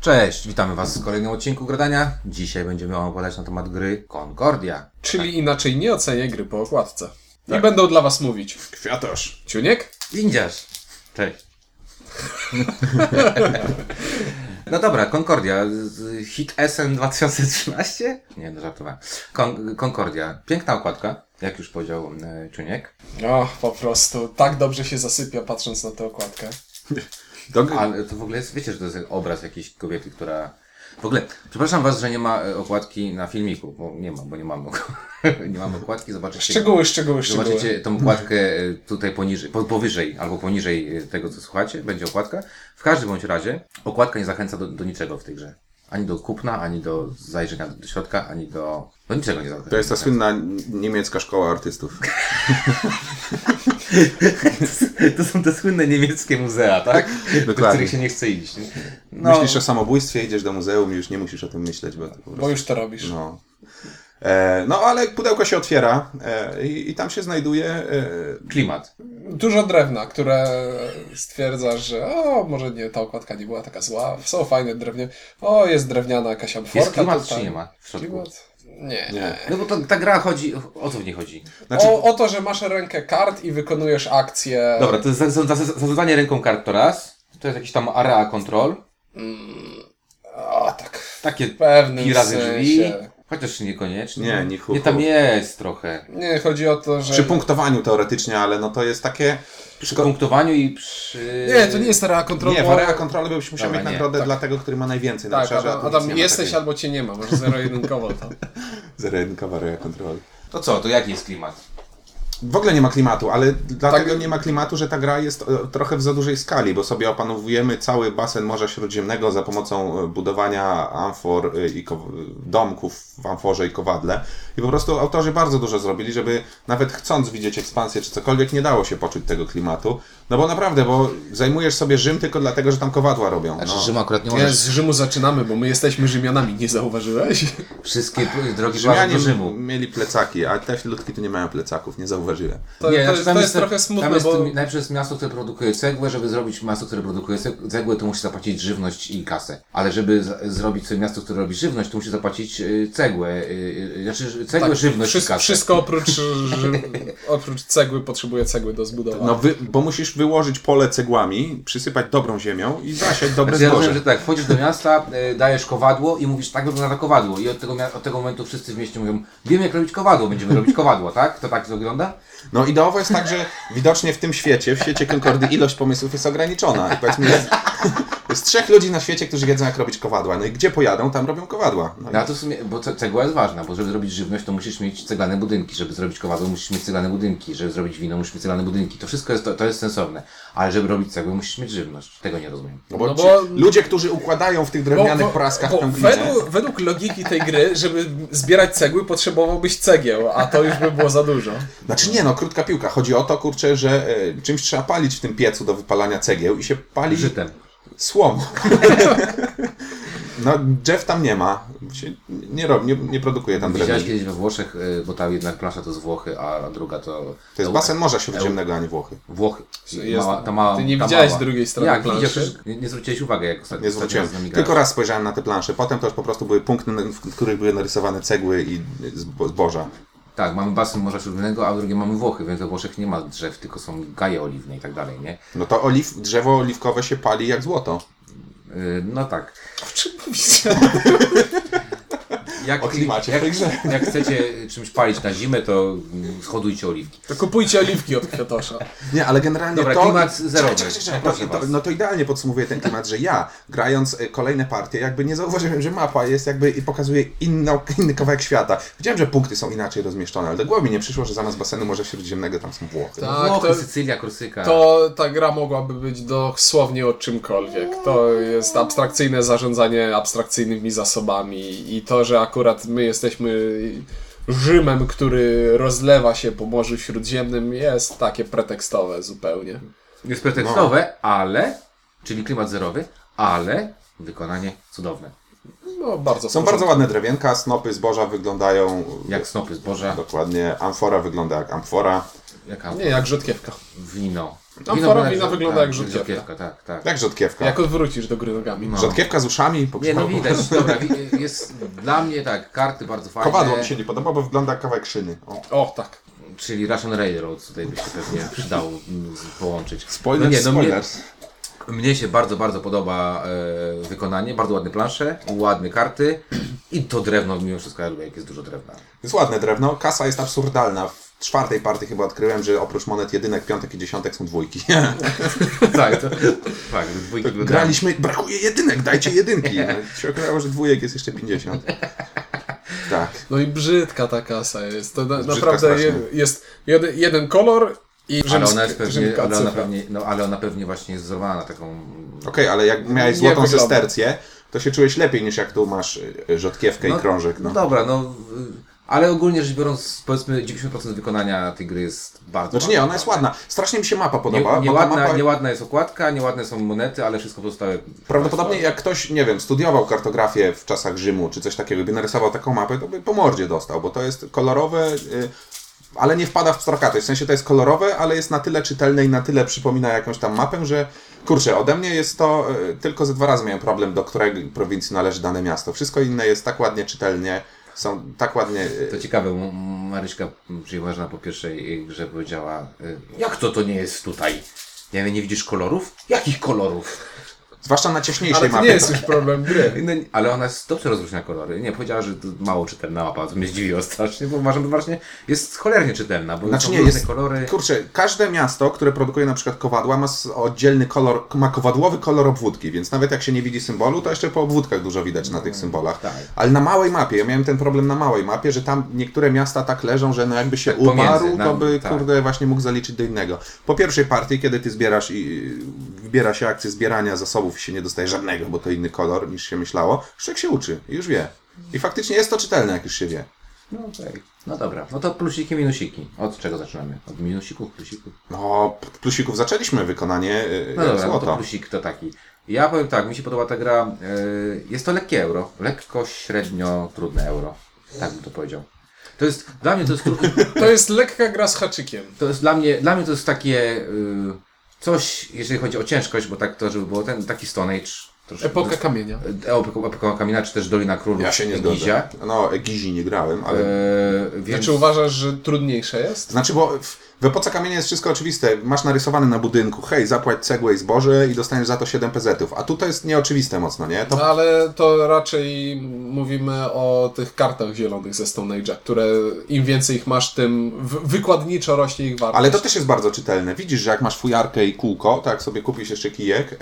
Cześć, witamy Was w kolejnym odcinku Gradania. Dzisiaj będziemy opowiadać na temat gry Concordia. Czyli inaczej nie ocenię gry po okładce. Tak. I będą dla was mówić. Kwiatosz. Ciuniek? Windziarz! Cześć. no dobra, Concordia. z- Hit SN 2013? Nie, no żartowałem. Con- Concordia. Piękna okładka, jak już powiedział e, Czuniek. O, po prostu tak dobrze się zasypia patrząc na tę okładkę. Do... Ale to w ogóle jest, wiecie, że to jest obraz jakiejś kobiety, która... W ogóle, przepraszam Was, że nie ma e, okładki na filmiku, bo nie ma, bo nie mam, ok- nie mam okładki, zobaczycie. Szczegóły, szczegóły, szczegóły. Zobaczycie tą okładkę e, tutaj poniżej, po, powyżej albo poniżej e, tego, co słuchacie, będzie okładka. W każdym bądź razie okładka nie zachęca do, do niczego w tej grze. Ani do kupna, ani do zajrzenia do środka, ani do... do niczego nie zachęca. To jest ta słynna niemiecka szkoła artystów. to są te słynne niemieckie muzea, tak? Do Dokładnie. których się nie chce iść. nie? No, Myślisz o samobójstwie, idziesz do muzeum i już nie musisz o tym myśleć, bo to po Bo prostu... już to robisz. No. E, no, ale pudełko się otwiera e, i, i tam się znajduje... E, klimat. Dużo drewna, które stwierdza, że o, może nie, ta okładka nie była taka zła. Są fajne drewnie. O, jest drewniana jakaś amforka. Jest klimat tutaj. czy nie ma w środku? Klimat? Nie. nie. No bo to, ta gra chodzi... O co w niej chodzi? Znaczy- O, o to, że masz rękę kart i wykonujesz akcję. Dobra, to jest za- za- za- zarzucanie ręką kart to raz. To jest jakiś tam area control. O, tak. Takie pewnym pi razy drzwi. sensie. Chociaż niekoniecznie. no. Nie, nie hu, Nie, tam hu. jest trochę. Nie, chodzi o to, że... Przy punktowaniu teoretycznie, ale no to jest takie... Przy punktowaniu i przy... Nie, to nie jest area control. Nie, w bo- area kontroli byś musiał Dobra, mieć nie, nagrodę tak. dla tego, który ma najwięcej. na Tak, obszarze, a Adam, tu nic Adam nie ma jesteś takiej. albo cię nie ma, masz zero-jedynkowo tam. Zero-jedynkowa area kontroli. To co, to jaki jest klimat? W ogóle nie ma klimatu, ale dlatego Tak. nie ma klimatu, że ta gra jest e, trochę w za dużej skali, bo sobie opanowujemy cały basen Morza Śródziemnego za pomocą e, budowania amfor e, i ko- domków w amforze i kowadle. I po prostu autorzy bardzo dużo zrobili, żeby nawet chcąc widzieć ekspansję czy cokolwiek, nie dało się poczuć tego klimatu. No bo naprawdę, bo zajmujesz sobie Rzym tylko dlatego, że tam kowadła robią. Znaczy, No. Rzym akurat nie Nie, możesz... z Rzymu zaczynamy, bo my jesteśmy Rzymianami, nie zauważyłeś? Wszystkie p- drogi prowadzą Rzymianie do Rzymu. mieli plecaki, a te ludki tu nie mają plecaków, nie zauważyłem. To, to, jest, to jest trochę znaczy, tam smutne, jest, bo tak, Najpierw jest miasto, które produkuje cegłę, żeby zrobić miasto, które produkuje ceg- cegłę, to musi zapłacić żywność i kasę. Ale żeby z- zrobić sobie miasto, które robi żywność, to musi zapłacić y, cegłę, y, y, znaczy cegłę, Tak, żywność i wszystko, kasę. wszystko oprócz, ży- oprócz cegły potrzebuje cegły do zbudowania. No, wy, bo musisz wyłożyć pole cegłami, przysypać dobrą ziemią i zasiać dobre Znaczy, ja rozumiem, zboże. że tak, wchodzisz do miasta, y, dajesz kowadło i mówisz, tak wygląda to kowadło. I od tego, mia- od tego momentu wszyscy w mieście mówią, wiemy jak robić kowadło, będziemy robić kowadło, tak? To tak to wygląda? No ideowo jest tak, że widocznie w tym świecie, w świecie Concordy, ilość pomysłów jest ograniczona. I powiedzmy, jest, jest trzech ludzi na świecie, którzy wiedzą jak robić kowadła. No i gdzie pojadą, tam robią kowadła. No, i- No a to w sumie, bo ce- cegła jest ważna, bo żeby zrobić żywność, to musisz mieć ceglane budynki, żeby zrobić kowadło, musisz mieć ceglane budynki, żeby zrobić wino, musisz mieć ceglane budynki. To wszystko jest, to, to jest sensowne, ale żeby robić cegłę, musisz mieć żywność. Tego nie rozumiem. no bo no ci, bo- ludzie, którzy układają w tych drewnianych praskach pęklinę, według, według logiki tej gry, żeby zbierać cegły, potrzebowałbyś cegieł, a to już by było za dużo. Znaczy nie, no krótka piłka. Chodzi o to, kurczę, że e, czymś trzeba palić w tym piecu do wypalania cegieł i się pali Żytem. Słomą. no, drzew tam nie ma. Się nie, robi, nie, nie produkuje tam drewna. Widziałeś kiedyś we Włoszech, y, bo ta jedna plansza to z Włochy, a druga to... To jest basen Morza Śródziemnego, a nie Włochy. Włochy. Jest- Mała, ta mała, Ty nie ta widziałeś mała. drugiej strony Jak, planszy? widziałeś, nie, nie zwróciłeś uwagi, jak ostatnio Nie ostatnio zwróciłem. z nami grałeś. Tylko raz spojrzałem na te plansze. Potem to już po prostu były punkty, na- w których były narysowane cegły i zbo- zboża. Tak, mamy basen Morza Śródlnego, a drugie mamy Włochy, więc we Włoszech nie ma drzew, tylko są gaje oliwne i tak dalej, nie? No to oliw, drzewo oliwkowe się pali jak złoto. Y, No tak. O czym mówicie? Jak, O klimacie jak, w tej grze. jak chcecie czymś palić na zimę, to mm, hodujcie oliwki. To kupujcie oliwki od kwiatosza. Nie, ale generalnie Dobra, to... klimat zerowy. Czekaj, czekaj, czekaj. Proszę To- to- was. No to idealnie podsumowuję ten klimat, że ja, grając e, kolejne partie, jakby nie zauważyłem, że mapa jest jakby i pokazuje inną, inny kawałek świata. Wiedziałem, że punkty są inaczej rozmieszczone, ale do głowy mi nie przyszło, że zamiast basenu Morza Śródziemnego tam są Włochy. Tak. Włochy, to- Sycylia, Korsyka. To ta gra mogłaby być dosłownie o czymkolwiek. To jest abstrakcyjne zarządzanie abstrakcyjnymi zasobami i to, że akurat my jesteśmy Rzymem, który rozlewa się po Morzu Śródziemnym, jest takie pretekstowe zupełnie. Jest pretekstowe, ale, czyli klimat zerowy, ale wykonanie cudowne. No, bardzo w Są porządku. bardzo ładne drewienka, snopy zboża wyglądają... Tak. Jak snopy zboża, Dokładnie, amfora wygląda jak amfora. jaka Nie, jak rzodkiewka. wino. Amforowina wygląda jak rzutkiewka. rzutkiewka. Tak, tak. Jak rzodkiewka. Jak odwrócisz do gry nogami. No. Rzodkiewka z uszami po Nie, no brzegu. widać, dobra, wi- jest dla mnie tak, karty bardzo fajne. Kowadło mi się nie podoba, bo wygląda jak kawałek szyny. O. O, tak. Czyli Russian Railroads tutaj by się pewnie przydało mm, z- połączyć. Spoilers, no nie, no spoilers. mnie, mnie się bardzo, bardzo podoba e, wykonanie, bardzo ładne plansze, ładne karty i to drewno mimo wszystko, ja lubię, jak jest dużo drewna. Jest ładne drewno, kasa jest absurdalna. W czwartej partii chyba odkryłem, że oprócz monet jedynek, piątek i dziesiątek są dwójki. tak, to, tak, dwójki były Graliśmy, brakuje jedynek, dajcie jedynki. No, się okazało, że dwójek jest jeszcze 50. Tak. No i brzydka ta kasa jest. To na, Brzydka naprawdę strasznie. je, jest jeden, jeden kolor i Ale rzymski- ona jest pewnie, rzymska ale ona cyfra. pewnie, no, ale ona pewnie właśnie jest wzorowana na taką... Okej, ale jak miałeś Nie złotą wygląda. sestercję, to się czułeś lepiej niż jak tu masz y, y, rzodkiewkę i krążek. No. Dobra, no... y, Ale ogólnie rzecz biorąc, powiedzmy 90% wykonania tej gry jest bardzo... Znaczy nie, ona jest ładna. Strasznie mi się mapa Nie, podoba, bo ta nieładna, mapa... nieładna jest okładka, nieładne są monety, ale wszystko pozostałe. Prawdopodobnie jak ktoś, nie wiem, studiował kartografię w czasach Rzymu czy coś takiego, by narysował taką mapę, to by po mordzie dostał, bo to jest kolorowe, y, ale nie wpada w pstrokaty. W sensie to jest kolorowe, ale jest na tyle czytelne i na tyle przypomina jakąś tam mapę, że kurczę, ode mnie jest to, y, tylko ze dwa razy miałem problem, do której prowincji należy dane miasto. Wszystko inne jest tak ładnie czytelnie, są tak ładnie... y, To ciekawe, m- Maryśka przyjeżdża po pierwszej grze powiedziała, y, jak to to nie jest tutaj? Ja mówię, nie widzisz kolorów? Jakich kolorów? Zwłaszcza na ciaśniejszej Ale to mapie. nie jest już problem gry. No, ale ona jest dobrze rozróżnia kolory. Nie, powiedziała, że to mało czytelna mapa, co mnie zdziwiło strasznie, bo uważam, że właśnie jest cholernie czytelna, bo Znaczy są nie, różne jest- kolory. Kurczę, każde miasto, które produkuje na przykład kowadła, ma s- oddzielny kolor, ma kowadłowy kolor obwódki, więc nawet jak się nie widzi symbolu, to jeszcze po obwódkach dużo widać na tych symbolach. tak. Ale na małej mapie, ja miałem ten problem na małej mapie, że tam niektóre miasta tak leżą, że no jakby się pomiędzy, umarł, na- to by tak. kurde właśnie mógł zaliczyć do innego. Po pierwszej partii, kiedy ty zbierasz i wybiera się akcję zbierania zasobów i się nie dostaje żadnego, bo to inny kolor niż się myślało, człowiek się uczy i już wie. I faktycznie jest to czytelne, jak już się wie. No, okej. no dobra, no to plusiki, minusiki. Od czego zaczynamy? Od minusików, plusików? No, plusików zaczęliśmy wykonanie y, No jak dobra, no złoto. to plusik to taki. Ja powiem tak, mi się podoba ta gra. y, Jest to lekkie euro. Lekko, średnio, trudne euro. Tak bym to powiedział. To jest, dla mnie to jest, trudne- To jest lekka gra z haczykiem. to jest dla mnie, dla mnie to jest takie, y, coś, jeżeli chodzi o ciężkość, bo tak to, żeby było ten, taki Stone Age. troszkę. Epoka kamienia. E, Epoka, epoka Kamina, czy też Dolina Królów. Ja się nie Egizia. zgodzę. No, Egizi nie grałem, ale... E, więc, Czy uważasz, że trudniejsze jest? Znaczy, bo w, w epoce kamienia jest wszystko oczywiste. Masz narysowane na budynku, hej, zapłać cegłę i zboże i dostaniesz za to 7 pezetów. A tutaj jest nieoczywiste mocno, nie? To No, ale to raczej mówimy o tych kartach zielonych ze Stone Age'a, które im więcej ich masz, tym w- wykładniczo rośnie ich wartość. Ale to też jest bardzo czytelne. Widzisz, że jak masz fujarkę i kółko, tak jak sobie kupisz jeszcze kijek, e,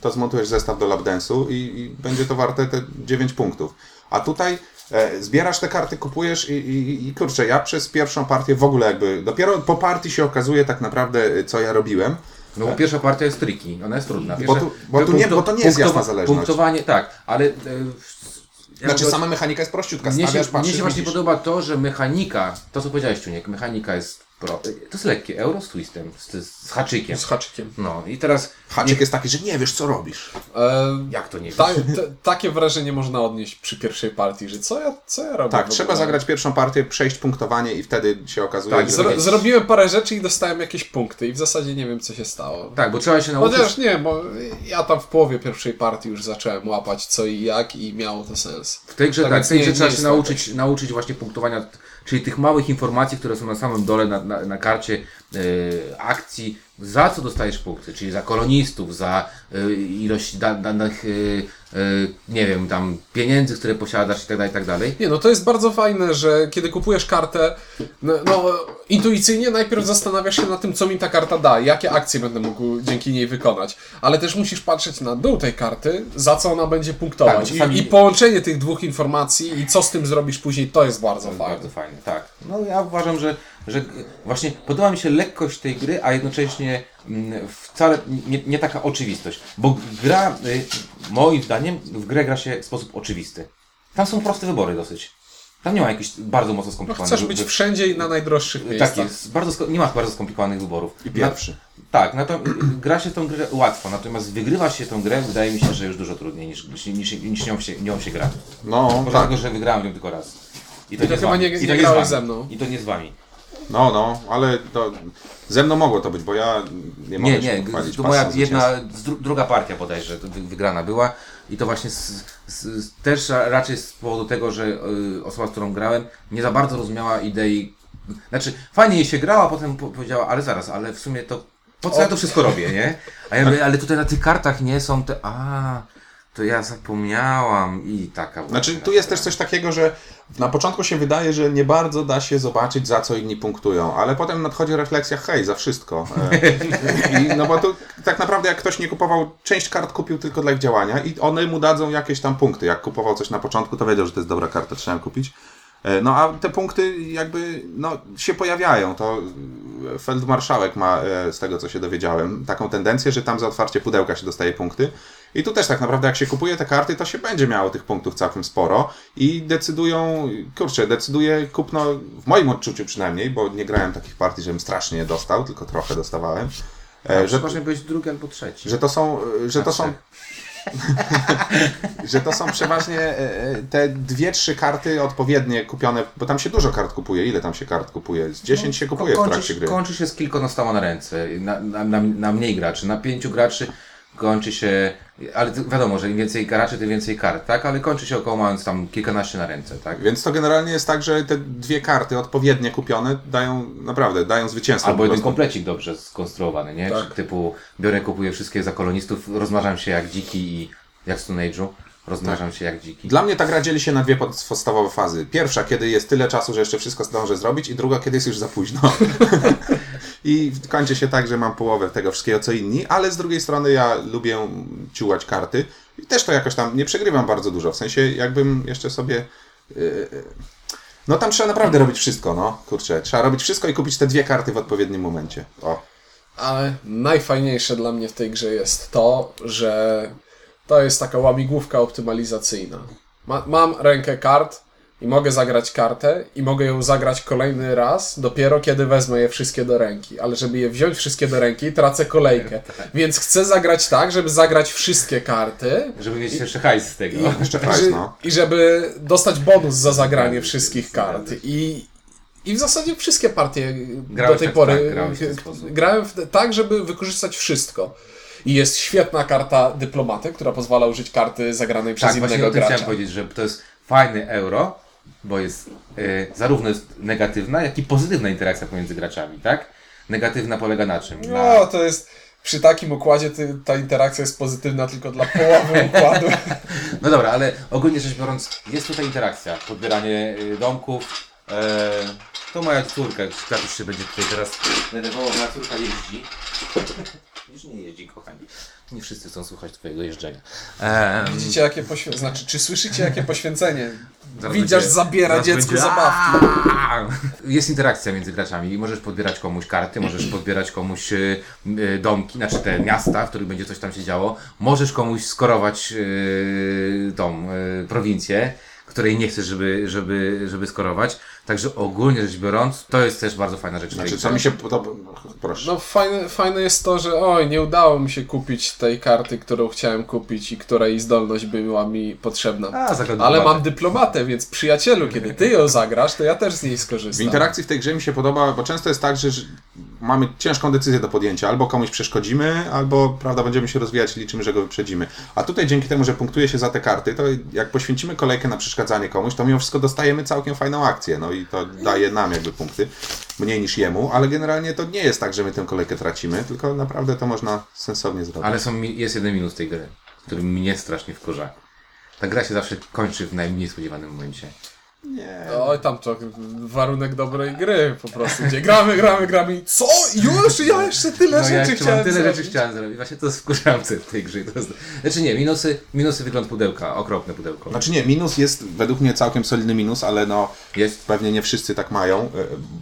to zmontujesz zestaw do lapdensu i, i będzie to warte te 9 punktów. A tutaj e, zbierasz te karty, kupujesz i, i, i kurczę, ja przez pierwszą partię w ogóle jakby, dopiero po partii się okazuje tak naprawdę, e, co ja robiłem. No bo pierwsza partia jest triki, ona jest trudna. Bo tu- bo tu nie- bo to nie jest jasna zależność. Punktowanie, tak, ale... e, ja Znaczy, bym- sama mechanika jest prościutka, Mnie się, stawiasz, patrzysz, mnie się właśnie widzisz. podoba to, że mechanika, to co powiedziałeś Ciuniek, mechanika jest pro, to jest lekkie, euro z twistem, z, z haczykiem. Z haczykiem. No i teraz, Haczyk jest taki, że nie wiesz, co robisz. E, jak to nie wiem, Ta, te- takie wrażenie można odnieść przy pierwszej partii, że co ja, co ja robię? w Tak, ogóle? trzeba zagrać pierwszą partię, przejść punktowanie i wtedy się okazuje, Tak, że... zrobię- Zro, zrobiłem parę rzeczy i dostałem jakieś punkty i w zasadzie nie wiem, co się stało. tak, bo trzeba się nauczyć, Chociaż nie, bo ja tam w połowie pierwszej partii już zacząłem łapać co i jak i miało to sens. w tej grze, tak, tak, więc w tej nie- grze nie trzeba się jest tak. nauczyć, nauczyć właśnie punktowania, t- czyli tych małych informacji, które są na samym dole na, na, na karcie e, akcji, za co dostajesz punkty, czyli za kolonistów, za e, ilość da, danych, e, e, nie wiem, tam pieniędzy, które posiadasz i tak dalej, i tak dalej. Nie, no to jest bardzo fajne, że kiedy kupujesz kartę, no, no intuicyjnie najpierw zastanawiasz się na tym, co mi ta karta da, jakie akcje będę mógł dzięki niej wykonać, ale też musisz patrzeć na dół tej karty, za co ona będzie Tak, punktować. bo czasami- I, I połączenie tych dwóch informacji i co z tym zrobisz później, to jest bardzo fajne. Bardzo fajnie, tak. No ja uważam, że, że właśnie podoba mi się lekkość tej gry, a jednocześnie mm, wcale nie, nie taka oczywistość. Bo gra, y, moim zdaniem, w grę gra się w sposób oczywisty. Tam są proste wybory dosyć. Tam nie ma jakichś bardzo mocno No, skomplikowanych chcesz wy- być wy- wszędzie i na najdroższych tak miejscach. jest, bardzo, sko- nie ma bardzo skomplikowanych wyborów. I pierwszy. tak, natomiast gra się w tą grę łatwo, natomiast wygrywa się tą grę, wydaje mi się, że już dużo trudniej niż, niż, niż, niż nią, się, nią się gra. No, Może tak. dlatego, że wygrałem ją tylko raz. I to z chyba wami. nie- I to nie z grałeś wami. ze mną. I to nie z wami. No, no, ale to ze mną mogło to być, bo ja nie mogę Nie, się nie, pochwalić to pasją moja jedna, zwycięską. dru, druga partia bodajże to wy- wygrana była i to właśnie z, z, z, też ra- raczej z powodu tego, że y, osoba, z którą grałem, nie za bardzo rozumiała idei. Znaczy, fajnie jej się grała, a potem po- powiedziała, ale zaraz, ale w sumie to po co ja to wszystko robię, nie? A ja mówię, ale tutaj na tych kartach nie są te. A, to ja zapomniałam i taka. była Znaczy, gra. tu jest też coś takiego, że na początku się wydaje, że nie bardzo da się zobaczyć, za co inni punktują, ale potem nadchodzi refleksja, hej, za wszystko. E, I, no bo tu tak naprawdę, jak ktoś nie kupował, część kart kupił tylko dla ich działania i one mu dadzą jakieś tam punkty. Jak kupował coś na początku, to wiedział, że to jest dobra karta, trzeba ją kupić. E, No a te punkty jakby no, się pojawiają. To e, Feldmarszałek ma, e, z tego co się dowiedziałem, taką tendencję, że tam za otwarcie pudełka się dostaje punkty. I tu też tak naprawdę jak się kupuje te karty, to się będzie miało tych punktów całkiem sporo i decydują, kurczę, decyduje kupno, w moim odczuciu przynajmniej, bo nie grałem takich partii, żebym strasznie dostał, tylko trochę dostawałem, e, że, Przeważnie byłeś drugi albo trzeci. że to są, e, że to są że to są przeważnie e, e, te dwie, trzy karty odpowiednie kupione, bo tam się dużo kart kupuje. Ile tam się kart kupuje? Z 10 się kupuje w No, kończy, trakcie gry. Kończy się z kilkunastoma na ręce, na, na, na, na mniej graczy, na pięciu graczy kończy się, ale to wiadomo, że im więcej graczy, tym więcej kart, tak? Ale kończy się około mając tam kilkanaście na ręce, tak? Więc to generalnie jest tak, że te dwie karty odpowiednie kupione dają, naprawdę, dają zwycięstwo. Albo po jeden prostu. komplecik dobrze skonstruowany, nie? Tak. Typu biorę, kupuję wszystkie za kolonistów, rozmnażam się jak dziki i jak w Stone Age'u, rozmnażam się jak dziki. Tak. Dla mnie ta gra dzieli się na dwie pod- podstawowe fazy. Pierwsza, kiedy jest tyle czasu, że jeszcze wszystko zdążę zrobić i druga, kiedy jest już za późno. I kończy się tak, że mam połowę tego wszystkiego co inni, ale z drugiej strony ja lubię ciułać karty i też to jakoś tam nie przegrywam bardzo dużo. W sensie jakbym jeszcze sobie... yy, No tam trzeba naprawdę robić wszystko, no. Kurczę, trzeba robić wszystko i kupić te dwie karty w odpowiednim momencie. O. Ale najfajniejsze dla mnie w tej grze jest to, że to jest taka łamigłówka optymalizacyjna. Ma, mam rękę kart i mogę zagrać kartę i mogę ją zagrać kolejny raz dopiero kiedy wezmę je wszystkie do ręki. Ale żeby je wziąć wszystkie do ręki, tracę kolejkę. Więc chcę zagrać tak, żeby zagrać wszystkie karty Żeby mieć jeszcze hajs z tego. Jeszcze i, price, no. i żeby dostać bonus za zagranie wszystkich kart. I, i w zasadzie wszystkie partie Grałeś do tej tak, pory tak, grałeś w ten sposób. grałem w te, tak, żeby wykorzystać wszystko. I jest świetna karta dyplomaty, która pozwala użyć karty zagranej przez Tak, właśnie innego o tym gracza. chciałem powiedzieć, że to jest fajny euro, bo jest e, zarówno jest negatywna, jak i pozytywna interakcja pomiędzy graczami, tak? Negatywna polega na czym? No, Na, to jest przy takim układzie ty, ta interakcja jest pozytywna tylko dla połowy układu. no dobra, ale ogólnie rzecz biorąc, jest tutaj interakcja, podbieranie y, domków. E, to moja córka, Katusz się będzie tutaj teraz denerwował, moja córka jeździ. Już nie jeździ, kochani. Nie wszyscy chcą słuchać twojego jeżdżenia. Em, Widzicie jakie poświęcenie, znaczy czy słyszycie jakie poświęcenie? Zaraz Widziarz będzie- zabiera zaraz dziecku będzie- zabawki. Aaa! Jest interakcja między graczami i możesz podbierać komuś karty, możesz podbierać komuś y, y, domki, znaczy te miasta, w których będzie coś tam się działo. Możesz komuś skorować y, tą y, prowincję, której nie chcesz, żeby, żeby, żeby skorować. Także ogólnie rzecz biorąc, to jest też bardzo fajna rzecz. w tej Znaczy, grze. co mi się podoba... Proszę. No fajne, fajne jest to, że oj, nie udało mi się kupić tej karty, którą chciałem kupić i której zdolność była mi potrzebna. A, zagadnij Ale uwagę. mam dyplomatę, więc przyjacielu, kiedy ty ją zagrasz, to ja też z niej W skorzystam. interakcji w tej grze mi się podoba, bo często jest tak, że że mamy ciężką decyzję do podjęcia. Albo komuś przeszkodzimy, albo prawda, będziemy się rozwijać i liczymy, że go wyprzedzimy. A tutaj dzięki temu, że punktuje się za te karty, to jak poświęcimy kolejkę na przeszkadzanie komuś, to mimo wszystko dostajemy całkiem fajną akcję. No i to daje nam jakby punkty. Mniej niż jemu, ale generalnie to nie jest tak, że my tę kolejkę tracimy, tylko naprawdę to można sensownie zrobić. Ale są, mi- jest jeden minus tej gry, który mnie strasznie wkurza. Ta gra się zawsze kończy w najmniej spodziewanym momencie. Nie. Oj, tam to warunek dobrej gry po prostu, gdzie gramy, gramy, gramy i co? Już? Ja jeszcze tyle No ja rzeczy jeszcze chciałem mam tyle zrobić. rzeczy chciałem zrobić. Właśnie to jest wkurzające w tej grze. To jest... Znaczy nie, minusy, minusy wygląd pudełka, okropne pudełko. Znaczy nie, minus jest według mnie całkiem solidny minus, ale no Jest. pewnie nie wszyscy tak mają, y,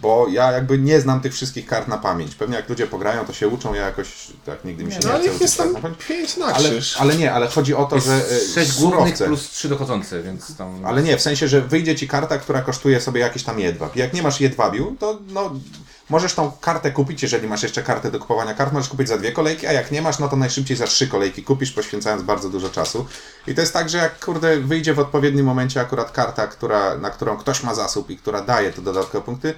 bo ja jakby nie znam tych wszystkich kart na pamięć. Pewnie jak ludzie pograją, to się uczą, ja jakoś tak nigdy mi się nie, No ale chce ich uczyć jest tak tam na pamięć. pięć na Ale, krzyż. ale nie, ale chodzi o to, że y, Sześć głównych surowce. plus trzy dochodzące, więc tam... Ale nie, w sensie, że wyjdzie ci karta, która kosztuje sobie jakiś tam jedwab. Jak nie masz jedwabiu, to no, możesz tą kartę kupić, jeżeli masz jeszcze kartę do kupowania kart, możesz kupić za dwie kolejki, a jak nie masz, no to najszybciej za trzy kolejki kupisz, poświęcając bardzo dużo czasu. I to jest tak, że jak kurde wyjdzie w odpowiednim momencie akurat karta, która, na którą ktoś ma zasób i która daje te dodatkowe punkty,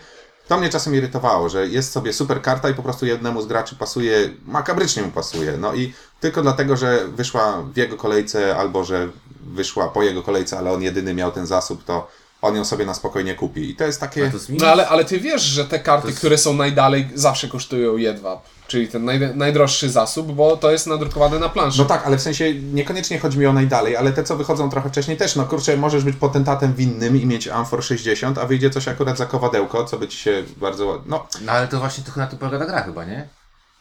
To mnie czasem irytowało, że jest sobie super karta i po prostu jednemu z graczy pasuje, makabrycznie mu pasuje. No i tylko dlatego, że wyszła w jego kolejce albo że wyszła po jego kolejce, ale on jedyny miał ten zasób, to on ją sobie na spokojnie kupi. I to jest A takie... to jest No ale, ale ty wiesz, że te karty, jest- które są najdalej, zawsze kosztują jedwab. Czyli ten naj, najdroższy zasób, bo to jest nadrukowane na planszy. No tak, ale w sensie niekoniecznie chodzi mi o najdalej, ale te co wychodzą trochę wcześniej też, no kurczę, możesz być potentatem winnym i mieć amfor 60, a wyjdzie coś akurat za kowadełko, co by ci się bardzo... ład- No, No ale to właśnie trochę na to polega ta gra chyba, nie?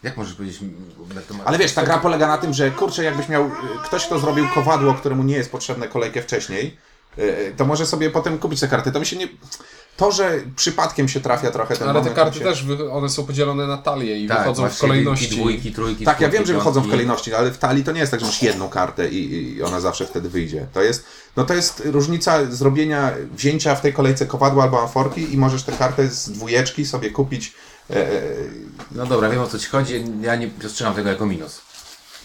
Jak możesz powiedzieć mm, na temat... Ale wiesz, tak ta gra polega na tym, że kurczę, jakbyś miał y, ktoś, kto zrobił kowadło, któremu nie jest potrzebne kolejkę wcześniej, y, y, to może sobie potem kupić te karty. To mi się nie. To, że przypadkiem się trafia trochę ten Ale te moment, karty się... też, wy, one są podzielone na talie i Tak, wychodzą w właśnie, kolejności. I dwójki, trójki, Tak, ja czwórki, wiem, że wychodzą w piątki. kolejności, ale w talii to nie jest tak, że masz jedną kartę i, i ona zawsze wtedy wyjdzie. To jest, no to jest różnica zrobienia, wzięcia w tej kolejce kowadła albo amforki i możesz tę kartę z dwójeczki sobie kupić. e, e, No dobra, wiem o co ci chodzi, ja nie postrzegam tego jako minus.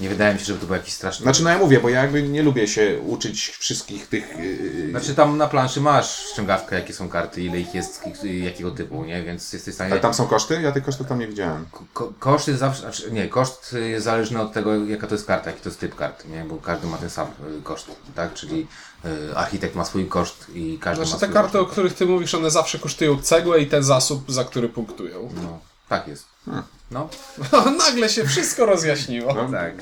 Nie wydaje mi się, żeby to był jakiś straszny... Znaczy, no ja mówię, bo ja jakby nie lubię się uczyć wszystkich tych y, Znaczy tam na planszy masz ściągawkę, jakie są karty, ile ich jest, i- i jakiego typu, nie? Więc jesteś w stanie... Tak. Ale tam są koszty? Ja tych kosztów tam nie widziałem. Ko- koszt jest zawsze, znaczy nie, koszt jest zależny od tego, jaka to jest karta, jaki to jest typ karty, nie? Bo każdy ma ten sam y, koszt, tak? Czyli y, architekt ma swój koszt i każdy Znaczy ma te swój karty, o koszt. których ty mówisz, one zawsze kosztują cegłę i ten zasób, za który punktują. No, tak jest. Hmm. No, Nagle się wszystko rozjaśniło. No. tak.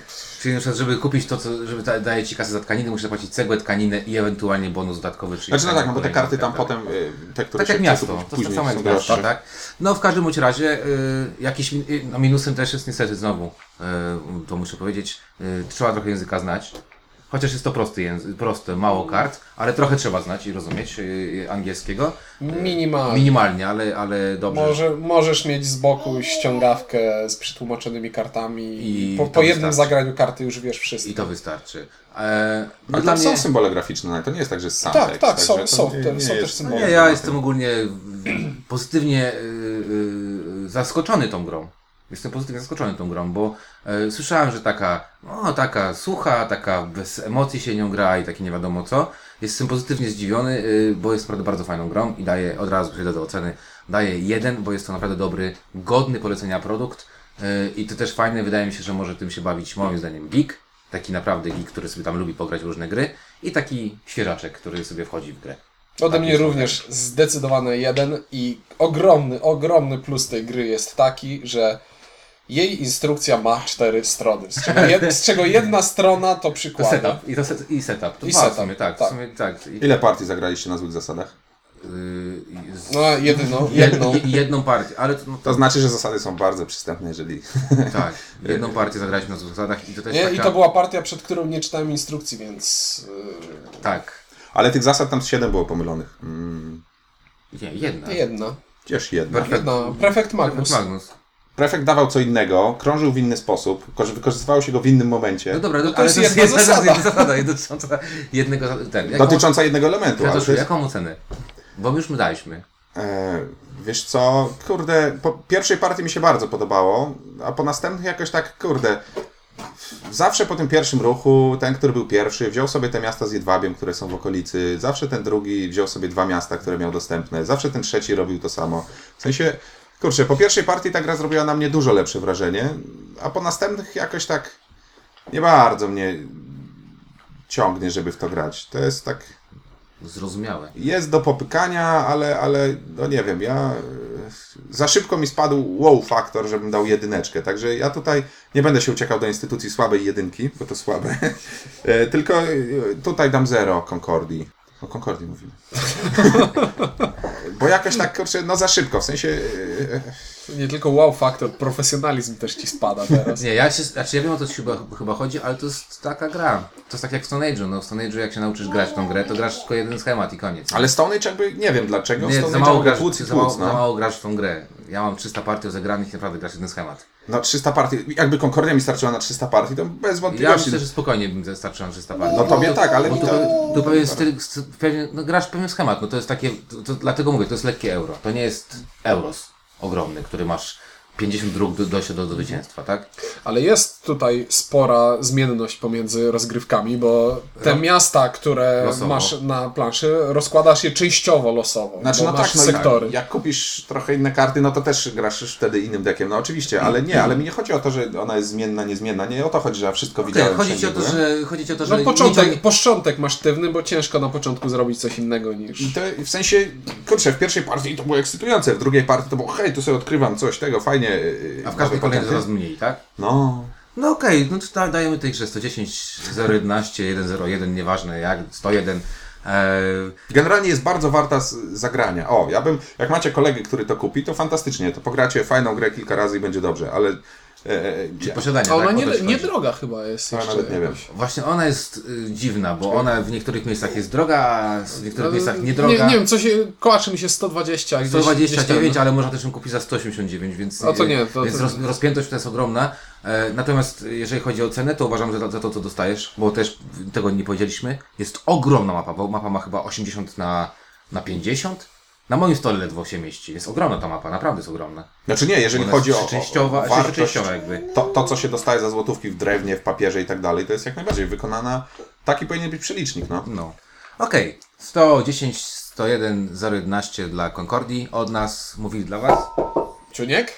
Czyli na przykład, żeby kupić to, co, żeby ta, daje ci kasę za tkaniny, musisz zapłacić cegłę, tkaninę i ewentualnie bonus dodatkowy, czyli... Znaczy no tak, no bo te kolejną karty tam kartę. potem, y, te, które Tak się jak miasto, chce kupić to jest tak samo są jak miasto, droższe. tak? No w każdym bądź razie y, jakiś, min- y, no minusem też jest niestety znowu, y, to muszę powiedzieć, y, trzeba trochę języka znać. Chociaż jest to prosty język, proste, mało kart, ale trochę trzeba znać i rozumieć y, y, angielskiego. Minimalnie. Minimalnie, ale, ale dobrze. Może, możesz mieć z boku ściągawkę z przetłumaczonymi kartami i I po, to po jednym wystarczy. zagraniu karty już wiesz wszystko. I to wystarczy. E, no Ale dla tam mnie, są symbole graficzne, to nie jest tak, że jest sam Tak, tekst, tak, są- także to są, nie- te- nie są też jest- No nie, symbole. ja jestem ogólnie w- pozytywnie y, y, zaskoczony tą grą. Jestem pozytywnie zaskoczony tą grą, bo e, słyszałem, że taka, no, taka sucha, taka bez emocji się nią gra i takie nie wiadomo co. Jestem pozytywnie zdziwiony, y, bo jest naprawdę bardzo fajną grą i daję, od razu przejdę do oceny, daję jeden, bo jest to naprawdę dobry, godny polecenia produkt y, i to też fajne, wydaje mi się, że może tym się bawić moim zdaniem geek, taki naprawdę geek, który sobie tam lubi pograć w różne gry i taki świeżaczek, który sobie wchodzi w grę. Ode Tak mnie jest. również zdecydowany jeden i ogromny, ogromny plus tej gry jest taki, że jej instrukcja ma cztery strony, z czego, jed, z czego jedna strona to To przykłady. setup, i, to set, i setup. To I dwa setup, w sumie, tak. tak. W sumie, tak. I, Ile partii zagraliście na złych zasadach? yy, z, No, jedyną, jedną. jedną. jedną partię, ale to, no, To znaczy, że zasady są bardzo przystępne, jeżeli... tak. Jedną partię zagraliśmy na zasadach i to też Nie? taka, I to była partia, przed którą nie czytałem instrukcji, więc... e, Tak. Ale tych zasad tam z 7 było pomylonych. Mm, Nie, jedna. Yy, jedna. gdzież jedna. Perfekt. Jedna. Prefekt Magnus. Magnus. Prefekt dawał co innego, krążył w inny sposób, ko- wykorzystywało się go w innym No momencie, dobra, to ale jest to jest jedna jedna zasada. zasada. Jedna zasada dotycząca jednego... za- Ten, jaką, dotycząca jednego elementu. ale to Kwiatuszku, jest- jaką ocenę? Bo my już mu daliśmy. E, wiesz co, kurde, po pierwszej partii mi się bardzo podobało, a po następnych jakoś tak, kurde, zawsze po tym pierwszym ruchu, ten, który był pierwszy, wziął sobie te miasta z jedwabiem, które są w okolicy, zawsze ten drugi wziął sobie dwa miasta, które miał dostępne, zawsze ten trzeci robił to samo. W sensie, kurczę, po pierwszej partii ta gra zrobiła na mnie dużo lepsze wrażenie, a po następnych jakoś tak nie bardzo mnie ciągnie, żeby w to grać. To jest tak Zrozumiałe. jest do popykania, ale, ale no nie wiem, ja y, za szybko mi spadł wow faktor, żebym dał jedyneczkę, także ja tutaj nie będę się uciekał do instytucji słabej jedynki, bo to słabe, E, tylko y, tutaj dam zero Concordii. O Concordii mówimy. bo jakoś tak, kurczę, no za szybko, w sensie y, Nie tylko wow faktor, profesjonalizm też ci spada teraz. Nie, ja się, znaczy ja wiem o co ci chyba, chyba chodzi, ale to jest taka gra. To jest tak jak w Stone Age'u. No w Stone Age'u jak się nauczysz grać w tą grę, to grasz tylko jeden schemat i koniec. ale Stone Age jakby, nie wiem dlaczego, Nie, Stone za Age mało, jakby grasz, płuc i za, mało, płuc, no. za mało grasz w tą grę. Ja mam 300 partii rozegranych i naprawdę grasz jeden schemat. no 300 partii, jakby Concordia mi starczyła na 300 partii, to bez Ja wątpliwości. myślę, że spokojnie bym zastarczył na 300 partii. No tobie Bo to- tak, ale Bo mi tu, to... pe- tu pewien styl, st- pewien, no grasz pewien schemat, no to jest takie, to, to, dlatego mówię, to jest lekkie euro. To nie jest euros ogromny, który masz 50 dróg do, dojścia do, do zwycięstwa, tak? Ale jest tutaj spora zmienność pomiędzy rozgrywkami, bo te miasta, które Losowo. masz na planszy, rozkładasz je częściowo losowo. Znaczy, bo no masz tak, no sektory. Jak, jak kupisz trochę inne karty, no to też grasz już wtedy innym dekiem. No oczywiście, ale nie, ale mi nie chodzi o to, że ona jest zmienna, niezmienna. Nie o to chodzi, że ja wszystko widziałem. chodzi ci o wszędzie to, byłem. że, chodzi ci o to, że No nie początek, ciągnie- początek masz tywny, bo ciężko na początku zrobić coś innego niż... I to w sensie, kurczę, w pierwszej partii to było ekscytujące, w drugiej partii to było hej, tu sobie odkrywam coś tego, fajnie. yy, a w nowe każdej kolejce patenty. coraz mniej, tak? No, No okej, no to da, dajemy tej grze 110, 011, 101, nieważne jak, 101. Eee, Generalnie jest bardzo warta z- zagrania. O, ja bym, jak macie kolegę, który to kupi, to fantastycznie, to pogracie fajną grę kilka razy i będzie dobrze, ale... E, e, ja, posiadanie, A ona tak? O nie, to ci chodzi. niedroga chyba jest ja jeszcze nawet nie wiem. jakoś. Właśnie ona jest y, dziwna, bo ona w niektórych miejscach jest droga, a w niektórych miejscach niedroga. No, Nie, nie wiem, co się, kołaczy mi się 120, gdzieś, gdzieś 129, ten. ale można też ją kupić za 189, więc, y, A to nie, to- więc to- roz, rozpiętość to jest ogromna. E, Natomiast e, jeżeli chodzi o cenę, to uważam że za, za to, co dostajesz, bo też tego nie powiedzieliśmy, jest ogromna mapa, bo mapa ma chyba 80 na, na 50. Na moim stole ledwo się mieści. Jest ogromna ta mapa, naprawdę jest ogromna. Znaczy nie, jeżeli Ona chodzi jest o, o, o trzyczęściowa, wartość, trzyczęściowa jakby. to, to co się dostaje za złotówki w drewnie, w papierze i tak dalej, to jest jak najbardziej wykonana, taki powinien być przelicznik, no. No. Okej. 110, 101, 011 dla Concordii. Od nas mówili dla Was. Ciuniek?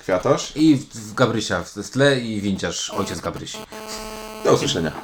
Kwiatosz, I w- w Gabrysia w tle i Winciarz, ojciec Gabrysi. do usłyszenia.